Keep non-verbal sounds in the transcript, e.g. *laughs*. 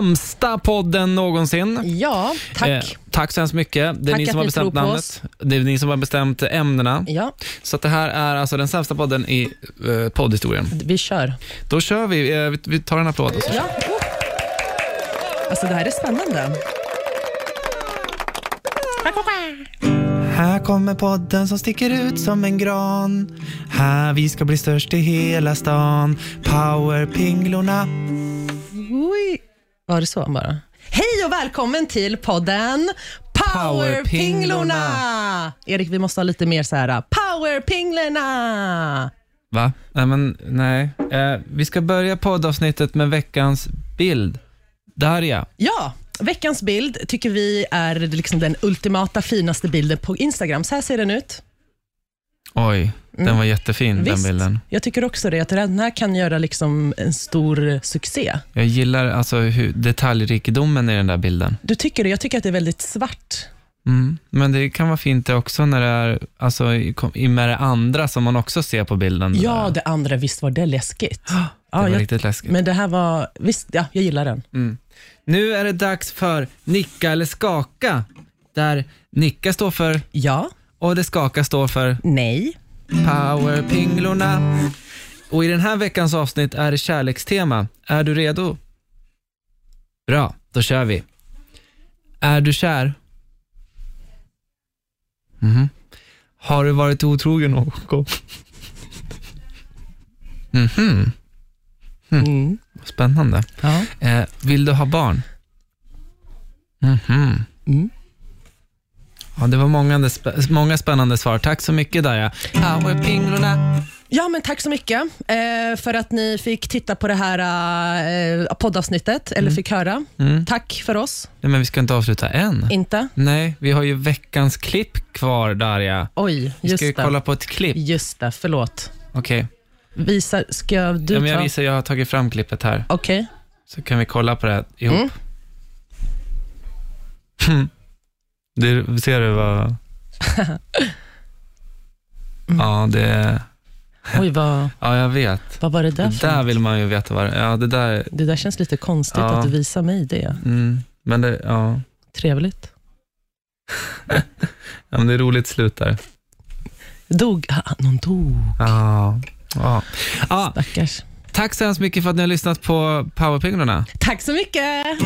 Sämsta podden någonsin. Ja, tack. Eh, tack så hemskt mycket. Det är Tack ni att som har ni bestämt tror på namnet. Det är ni som har bestämt ämnena. Ja, Så att det här är alltså den sämsta podden i eh, poddhistorien. vi kör. Då kör vi. Eh, vi, vi tar en applåd. Och så. Ja. Alltså det här är spännande. Här kommer podden som sticker ut som en gran. Här vi ska bli störst i hela stan. Powerpinglorna. Oj. Var det så bara? Hej och välkommen till podden Powerpinglorna. Powerpinglorna! Erik, vi måste ha lite mer så här äh, Powerpinglorna! Va? Nej, men nej. Eh, vi ska börja poddavsnittet med veckans bild. Darja. Ja, veckans bild tycker vi är liksom den ultimata finaste bilden på Instagram. Så här ser den ut. Oj, den var jättefin den Mm. Visst. bilden. Jag tycker också det, att den här kan göra liksom en stor succé. Jag gillar alltså hur detaljrikedomen i den där bilden. Du tycker det? Jag tycker att det är väldigt svart. Mm. Men det kan vara fint det också när det är alltså, i, i med det andra som man också ser på bilden. Ja, det, det andra, visst var det läskigt? *gasps* Ah, där. det var Ja, jag, riktigt läskigt. Mm. men det här var, visst, ja, jag gillar den. Nu är det dags för nicka eller skaka. Där nicka står för Ja, och det skaka står för nej, powerpinglorna. Och i den här veckans avsnitt är det kärlekstema. Är du redo? Bra, då kör vi. Är du kär? Mhm. Har du varit otrogen någon gång? Mhm, mm. Spännande. ja. Eh, vill du ha barn? Mhm. Mm. Ja, det var många, sp- många spännande svar. Tack så mycket, Darja. Powerpinglorna. ja, men tack så mycket eh, för att ni fick titta på det här eh, poddavsnittet, eller fick höra. Mm. Tack för oss, Nej, men vi ska inte avsluta än. inte? Nej, vi har ju veckans klipp kvar, Darja. Oj, Vi just ska ju det. kolla på ett klipp. Just det, förlåt. Okej, Visa, ska du ja, men jag ta? visar, jag har tagit fram klippet här. Okej. Så kan vi kolla på det här ihop. Mm. Det, ser *laughs* du *laughs* vad... Mm. Ja, det... Oj, vad, Ja, jag vet. vad var det där Det för där något? vill man ju veta vad det Ja, det där... Det där känns lite konstigt Ja. att du visar mig det. Mm, men det, ja. Trevligt. ja, men det är roligt slut där. Dog, ah, någon dog, Ja. ja. ja stackars. tack så hemskt mycket för att ni har lyssnat på Powerpinglorna. Tack så mycket!